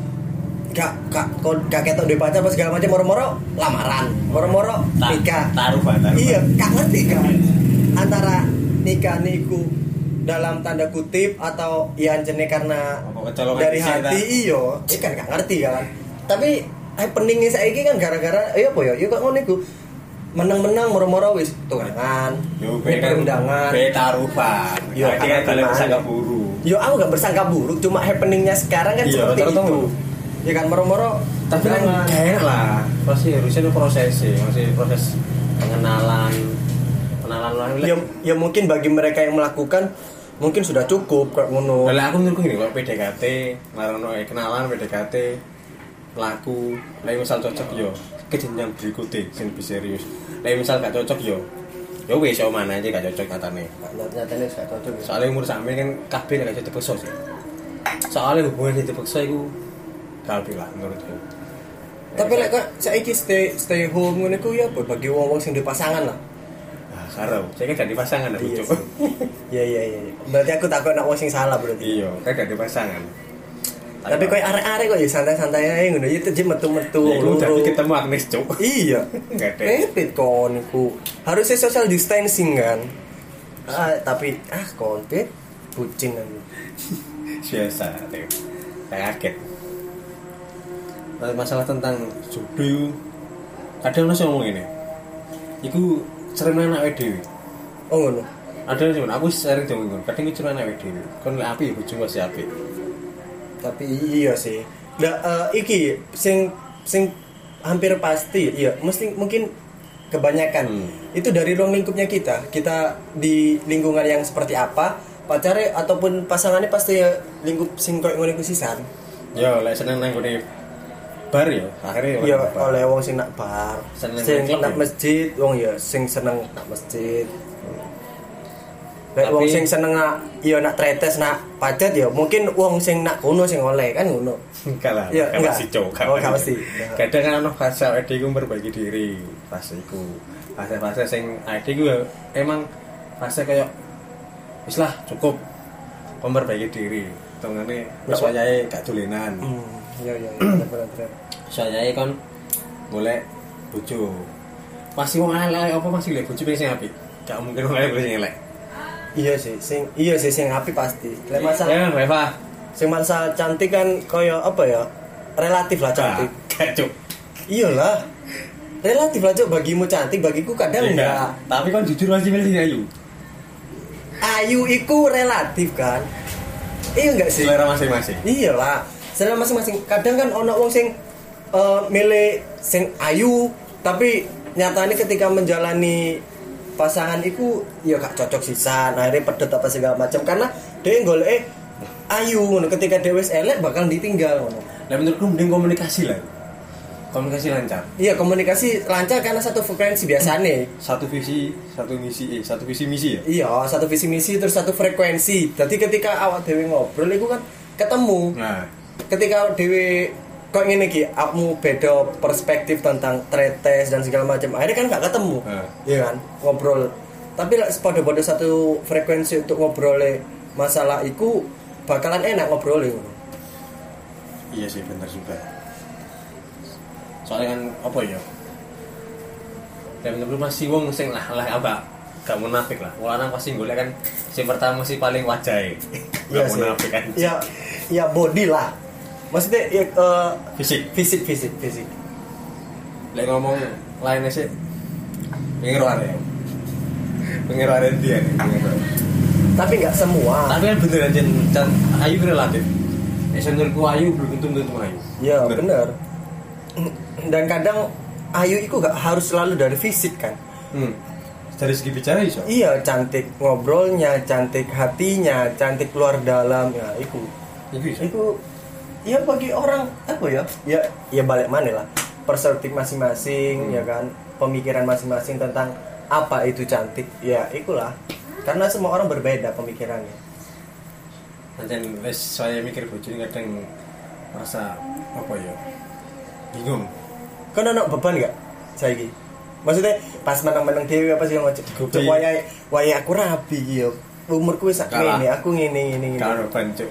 A: gak gak kok gak ketok duwe pacar apa segala macam moro-moro lamaran moro-moro nikah
B: Taruh banget.
A: iya gak ngerti kan antara nikah niku dalam tanda kutip atau ya anjene karena
B: Apa kecolongan
A: dari
B: fisik,
A: hati
B: tak?
A: iyo iya kan gak ngerti kan tapi happeningnya saiki kan gara-gara iya apa ya iya kok ngono iku menang-menang moro-moro wis tunangan
B: Yo be kan
A: perundangan
B: Be taruhan.
A: Yo,
B: Yo dia
A: kangen
B: kalau
A: teman.
B: bisa gak buru.
A: yo aku gak bersangka buruk cuma happeningnya sekarang kan
B: Iya,
A: seperti
B: rata-rata
A: itu
B: ngono.
A: ya kan moro-moro
B: Tapi kan
A: tunangan.
B: gak enak lah. Pasti harusnya itu proses sih, masih proses pengenalan pengenalan lah.
A: ya, ya mungkin bagi mereka yang melakukan mungkin sudah cukup kayak ngono
B: Kalau aku menurutku gini, kalau PDKT, marono eh, kenalan PDKT, laku, lain misal cocok yo, ke jenjang berikutnya, sing lebih serius. Lain misal gak cocok yo, yo wes yo mana aja gak cocok katanya.
A: nyatanya sudah cocok ya.
B: Soalnya umur sampe kan kabeh gak bisa dipaksa sih. Soalnya hubungan yang dipaksa itu kalbi lah menurutku.
A: Tapi lek kok saiki stay stay home ngono iku ya apa bagi wong-wong sing duwe pasangan lah.
B: Nah, karo, saya kan gak dipasangan aku
A: Iya
B: coba.
A: sih. Iya iya iya. iya. Berarti aku takut nak wong sing salah berarti.
B: Iya, kan gak dipasangan.
A: Tapi kok arek-arek kok ya santai-santai ae ngono ya tetep metu-metu
B: tuh,
A: loro.
B: lu jadi ketemu Agnes cuk. [LAUGHS]
A: Iya.
B: Nggak ada.
A: Pepet kon iku. Harusnya social distancing kan. Ah, tapi ah kon pet kucing kan.
B: biasa Teo. saya kaget Nah, masalah tentang jodoh kadang lu ngomong ini iku cermin anak dhewe
A: Oh ngono.
B: ada yang cuman aku sering dong ngono kadang iku cermin anak dhewe kon lek api bojo masih api
A: Tapi iya sih. Nah, eh, iki sing sing hampir pasti iya mesti mungkin kebanyakan
B: Hmm.
A: itu dari ruang lingkupnya kita kita di lingkungan yang seperti apa pacarnya ataupun pasangannya pasti ya lingkup sing koyo ngono iku sisan
B: yo lek seneng nang gone bar yo
A: ya
B: akhirnya nang Iya, bar.
A: oleh wong sing nak bar
B: Seneng
A: sing
B: nang klub
A: nak
B: ya?
A: masjid wong ya sing seneng nak masjid Lek
B: Tapi-
A: wong sing seneng nak ya nak tretes nak pacet ya mungkin wong sing nak ngono sing oleh kan ngono
B: enggak lah
A: Iya,
B: enggak
A: enggak.
B: mesti cuk
A: Oh, enggak mesti.
B: kadang kan ono fase awake dhewe iku memperbaiki diri fase iku fase-fase sing awake dhewe iku ya emang fase kayak wis lah cukup memperbaiki diri tongane
A: Wis,
B: wis wayahe gak dolenan
A: Hmm, iya iya iya, bener, bener, bener.
B: wayahe kon golek bojo pasti wong elek apa masih golek bojo pengen sing apik gak mungkin wong elek golek sing elek
A: Iya sih, sing iya sih sing api pasti. Lek masa
B: ya Reva
A: sing masa cantik kan koyo apa ya? Relatif lah cantik.
B: gak cuk
A: Iyalah. Relatif lah Cok, bagimu cantik, bagiku kadang Kan
B: Iya.
A: enggak.
B: tapi kon jujur masih milih ya, sing ayu
A: Ayu iku relatif kan. Iya enggak sih?
B: selera masing-masing
A: Iyalah, selera masing-masing. Kadang kan ono wong sing eh, milih sing ayu, tapi nyatane ketika menjalani pasangan iku ya gak cocok sisan, akhirnya pedet apa segala macam karena dia golek "Eh, ayu ngono ketika dhewe wis elek bakal ditinggal ngono.
B: lah menurutku mending komunikasi lah komunikasi lancar
A: Iya, komunikasi lancar karena satu frekuensi biasanya.
B: satu visi satu misi eh satu visi misi ya
A: Iya, satu visi misi terus satu frekuensi. Jadi ketika awak dewe ngobrol itu kan ketemu.
B: nah
A: ketika Dewi kok ngene iki awakmu beda perspektif tentang tretes dan segala macam akhirnya kan nggak ketemu
B: Heeh.
A: iya kan ngobrol tapi lek pada pada satu frekuensi untuk ngobrolnya masalah iku bakalan enak ngobrolnya
B: Iya sih bener juga. Soalnya kan apa ya? Dan menurut masih wong sing lah lah apa? Gak munafik lah. Wong lanang pasti golek kan sing pertama sih paling wajahe. Gak munafik kan.
A: ya ya body lah maksudnya ya, eh,
B: Fisik.
A: fisik fisik fisik
B: Lek ngomong lainnya sih pengen roare. Pengen roare dia nih. pengen roare.
A: tapi nggak semua
B: Tapi kan bener aja Can Ayu relatif. Eh menurutku Ayu belum tentu tentu Ayu.
A: ya bener dan kadang ayu itu nggak harus selalu dari fisik kan
B: Hmm. Dari segi bicara iso.
A: Iya, cantik ngobrolnya, cantik hatinya, cantik luar dalam. Ya, itu.
B: Iku iso.
A: Itu ya bagi orang apa ya? Ya, ya balik mana lah. Perspektif masing-masing ya kan, pemikiran masing-masing tentang apa itu cantik. Ya, ikulah. Karena semua orang berbeda pemikirannya.
B: Pancen wis saya mikir bojo ini kadang merasa apa ya? Bingung.
A: Kau ono Kan beban gak? Saiki. Maksudnya pas menang-menang dewi apa sih yang ngajak?
B: Gobi.
A: Wayai, wayai aku rapi gitu. Umurku sak
B: Kalah.
A: ini, aku ngene ngene ngene.
B: Kalau bancu.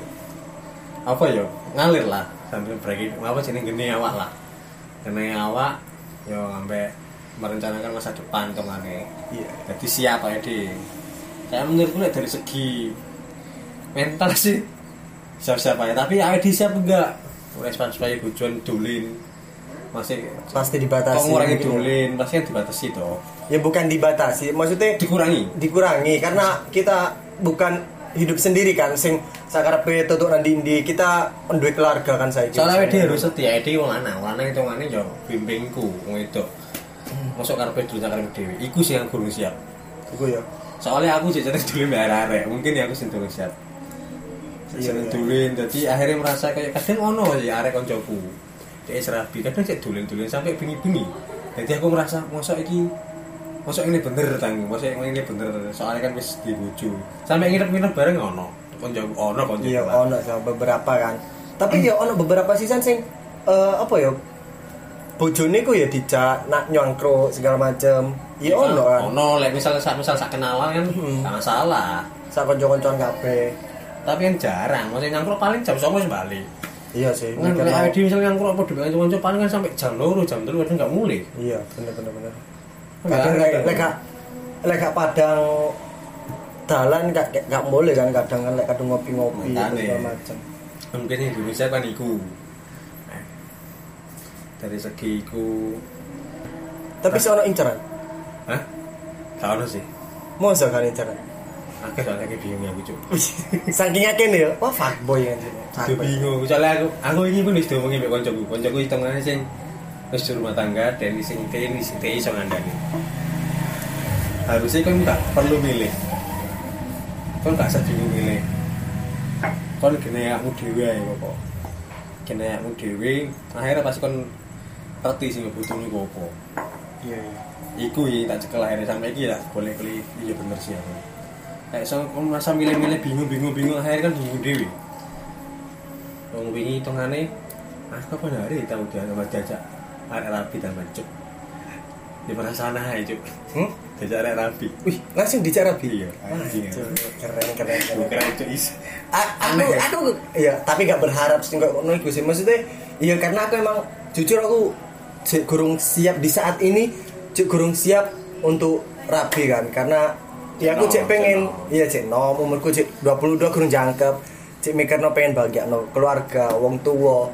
B: Apa ya? Ngalir lah sambil berakhir apa jeneng geni awak lah. Geni awak ya sampai merencanakan masa depan kemana
A: Iya.
B: jadi siap aja deh saya menurutku lek dari segi mental sih siap-siap aja tapi aja di siap enggak respon supaya tujuan dulin masih
A: Pasti dibatasi.
B: kau ngurangi
A: Mungkin ya.
B: dulin pasti kan dibatasi toh
A: ya bukan dibatasi maksudnya
B: dikurangi
A: dikurangi karena kita bukan hidup sendiri kan sing sakarepe tutuk nang ndi kita duwe keluarga kan saya
B: soalnya dia harus setia dia wong lanang wong lanang itu mana ya bimbingku wong itu masuk karpet dulu sakar dewi iku sih yang kurang siap
A: iku ya
B: soalnya aku jadi dulu merah mungkin ya aku sih kurang siap
A: Iya,
B: seneng
A: iya.
B: dulin jadi akhirnya merasa kayak kadang ono ya arek koncoku dia serabi kadang cek dulin dulin sampai bengi bengi jadi aku merasa masuk iki masuk ini bener tanggung masuk ini bener soalnya kan wis dibujuk sampai nginep nginep bareng ono koncoku ono koncoku
A: iya
B: lah.
A: ono so, beberapa kan tapi ya ono beberapa sisan sing eh, apa ya bojone ku ya dijak nak nyongkro segala macem ya ono kan
B: ono lek misal sak misal sak kenalan kan
A: Hmm.
B: gak masalah
A: sak kanca-kancan kabeh
B: tapi kan jarang maksudnya nyangkruk paling jam 9 wis bali
A: iya sih
B: kan
A: mikir
B: lek
A: mau.
B: awake dhewe misal nyangkruk apa dhewe kanca paling kan sampai jam 2 jam 3 kadang gak mulih
A: iya bener bener bener
B: Enggak,
A: kadang lek
B: enggak.
A: lek gak- lek gak padang dalan gak gak- gak boleh kan kadang kan lek kadang ngopi-ngopi
B: Makanya.
A: segala macam
B: mungkin yang Indonesia kan iku Nah, dari segi iku
A: tapi seorang inceran
B: hah gak ono sih
A: mau kan
B: [LAUGHS]
A: inceran
B: akeh soalnya aku bingung aku cuk
A: saking yakin ya wah fuckboy kan sih
B: Aku bingung soalnya aku aku ini pun wis diomongi mbek koncoku koncoku hitungane sing wis di rumah tangga dan sing TI sing TI iso ngandani harusnya kan gak perlu milih kan gak usah bingung milih kan kena aku dewe ae kok kena aku dewe akhirnya pasti kan ngerti sing kebutuhan iku apa
A: iya iya.
B: iku ya tak cekel akhirnya sampai iki lah boleh keli iya bener sih aku kayak so aku merasa milih-milih bingung-bingung bingung akhirnya kan bingung dewi Wong wingi "Ah, hitungane aku kapan hari tahu dia sama diajak arek rapi tambah cuk di perang sana ya cuk
A: Hmm?
B: diajak arek rapi
A: Wih, langsung dicek rabi.
B: iya anjing ya.
A: Keren keren keren.
B: bukan cuk is
A: A- aku
B: Aneh ya?
A: aku iya tapi gak berharap sih kok ngono iku sih maksudnya iya karena aku emang jujur aku jek gurung siap di saat ini jek gurung siap untuk rabi kan karena ya aku
B: Nom,
A: cek pengen
B: cek nom.
A: iya cek nom umurku cek 22 gurung jangkep cek mikirno pengen bahagia no keluarga wong tua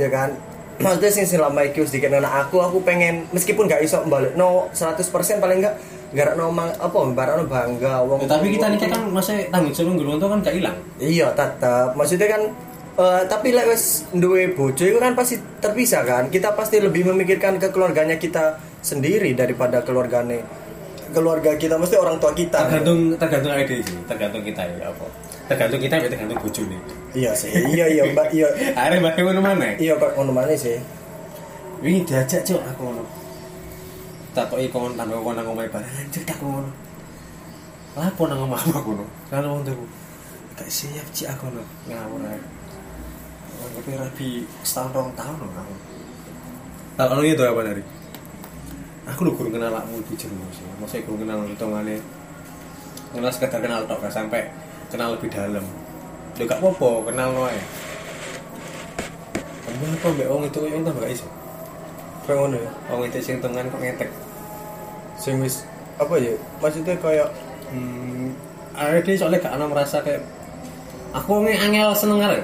A: ya kan [CLEARS THROAT] maksudnya sih selama itu sedikit nana Nah, aku aku pengen meskipun gak iso balik no 100% paling enggak gara no mang apa gara bangga wong
B: Ya, tapi kita
A: tua.
B: nikah kan masih tanggung jawab ngurung tuh kan gak hilang
A: Iya tetap. Maksudnya kan eh, tapi lek wis duwe bojo itu kan pasti terpisah kan. Kita pasti lebih memikirkan ke keluarganya kita sendiri daripada keluargane keluarga kita mesti orang tua kita.
B: tergantung tergantung ide sih tergantung kita ya apa tergantung kita ya tergantung bojo nih
A: Iya sih. Iya iya Mbak iya.
B: akhirnya mbak Dewi mana
A: Iya kok ngono maneh sih.
B: Wingi diajak cok aku ngono. Takoki kon tanggo kon nang omahe bareng anjir tak ngono. Lapo nang omah aku ngono. Kan wong tuku. Gak siap cik aku ngono. Ngawur ae. Tapi rabi setahun rong tahun lho aku. Tak ngono itu apa dari? Aku lho kurang kenal lakmu di jero sih. Masa kurang kenal hitungane. Kenal sekedar kenal tok gak sampai kenal lebih dalam. Lho gak apa-apa kenal noe. Kenapa mbak wong itu yang tambah gak iso?
A: Kayak ngono ya.
B: Wong itu sing tengen kok ngetek.
A: Sing wis apa ya? Maksudnya kayak
B: Hmm, ada dia soalnya gak ana merasa kayak aku wong angel seneng arek.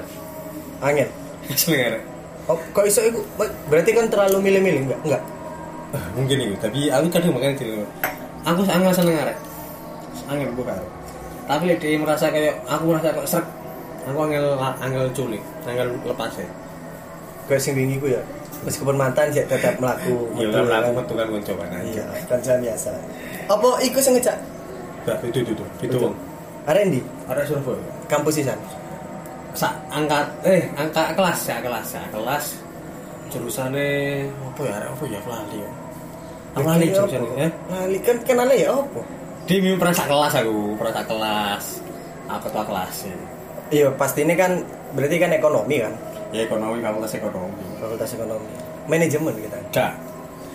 A: angin.
B: [LAUGHS] Seneng arek.
A: Oh, kok iso iku berarti kan terlalu milih-milih enggak? Enggak.
B: Eh, Mungkin itu, tapi aku kadang makan itu. Aku angel seneng arek. Angel gue karo. Tapi lek dia merasa kayak aku merasa kok srek. Aku angel angel culik, angel lepas ya.
A: Kayak sing wingi ku ya. Meskipun mantan sih tetap melaku.
B: Iya,
A: Betul,
B: lah aku
A: kan?
B: metu kan coba nanti.
A: Iya, kan biasa. Apa iku sing ngejak?
B: Gak itu itu itu. Itu wong.
A: Arendi,
B: Arek Surabaya.
A: kampus sisan.
B: sak angkat eh angka kelas ya kelas ya kelas jurusannya apa ya arek apa ya aku lali ya
A: Ah,
B: aku lali jurusannya eh
A: Iya, Lali kan kenalnya ya opo?
B: di mimpi pernah sak kelas aku pernah sak kelas aku ketua kelas ya.
A: Iya, pasti ini kan berarti kan ekonomi kan,
B: ya ekonomi fakultas ekonomi
A: fakultas ekonomi. Manajemen kita.
B: enggak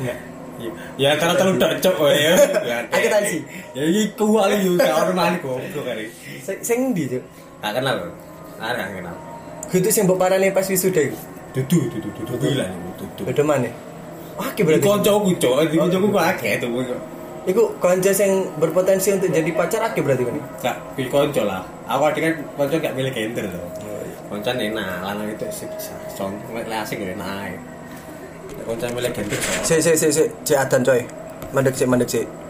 B: ya ya karena terlalu dacok [LAUGHS] ya
A: Aku tahu sih.
B: ya ini kuali juga orang mali goblok kali
A: Se- Sing ndi, Cuk?
B: tak kenal loh ada yang kenal
A: Gitu sing mbok parane pas wisuda iku.
B: dudu dudu dudu gila iku, dudu
A: Beda mana? Wah, ki
B: berarti Oh,
A: berarti.
B: konco aku cok di konco aku akeh tuh
A: Iku konco sing berpotensi untuk jadi pacar aki berarti kan?
B: Gak, pilih konco lah. Aku tadi kan konco gak pilih gender loh. Konco enak, lanang itu sih bisa. Song, lek asik gak enak. ae. Lek Konco milih gender. so.
A: Si si si si, si adan coy. Mandek sik, mandek sik.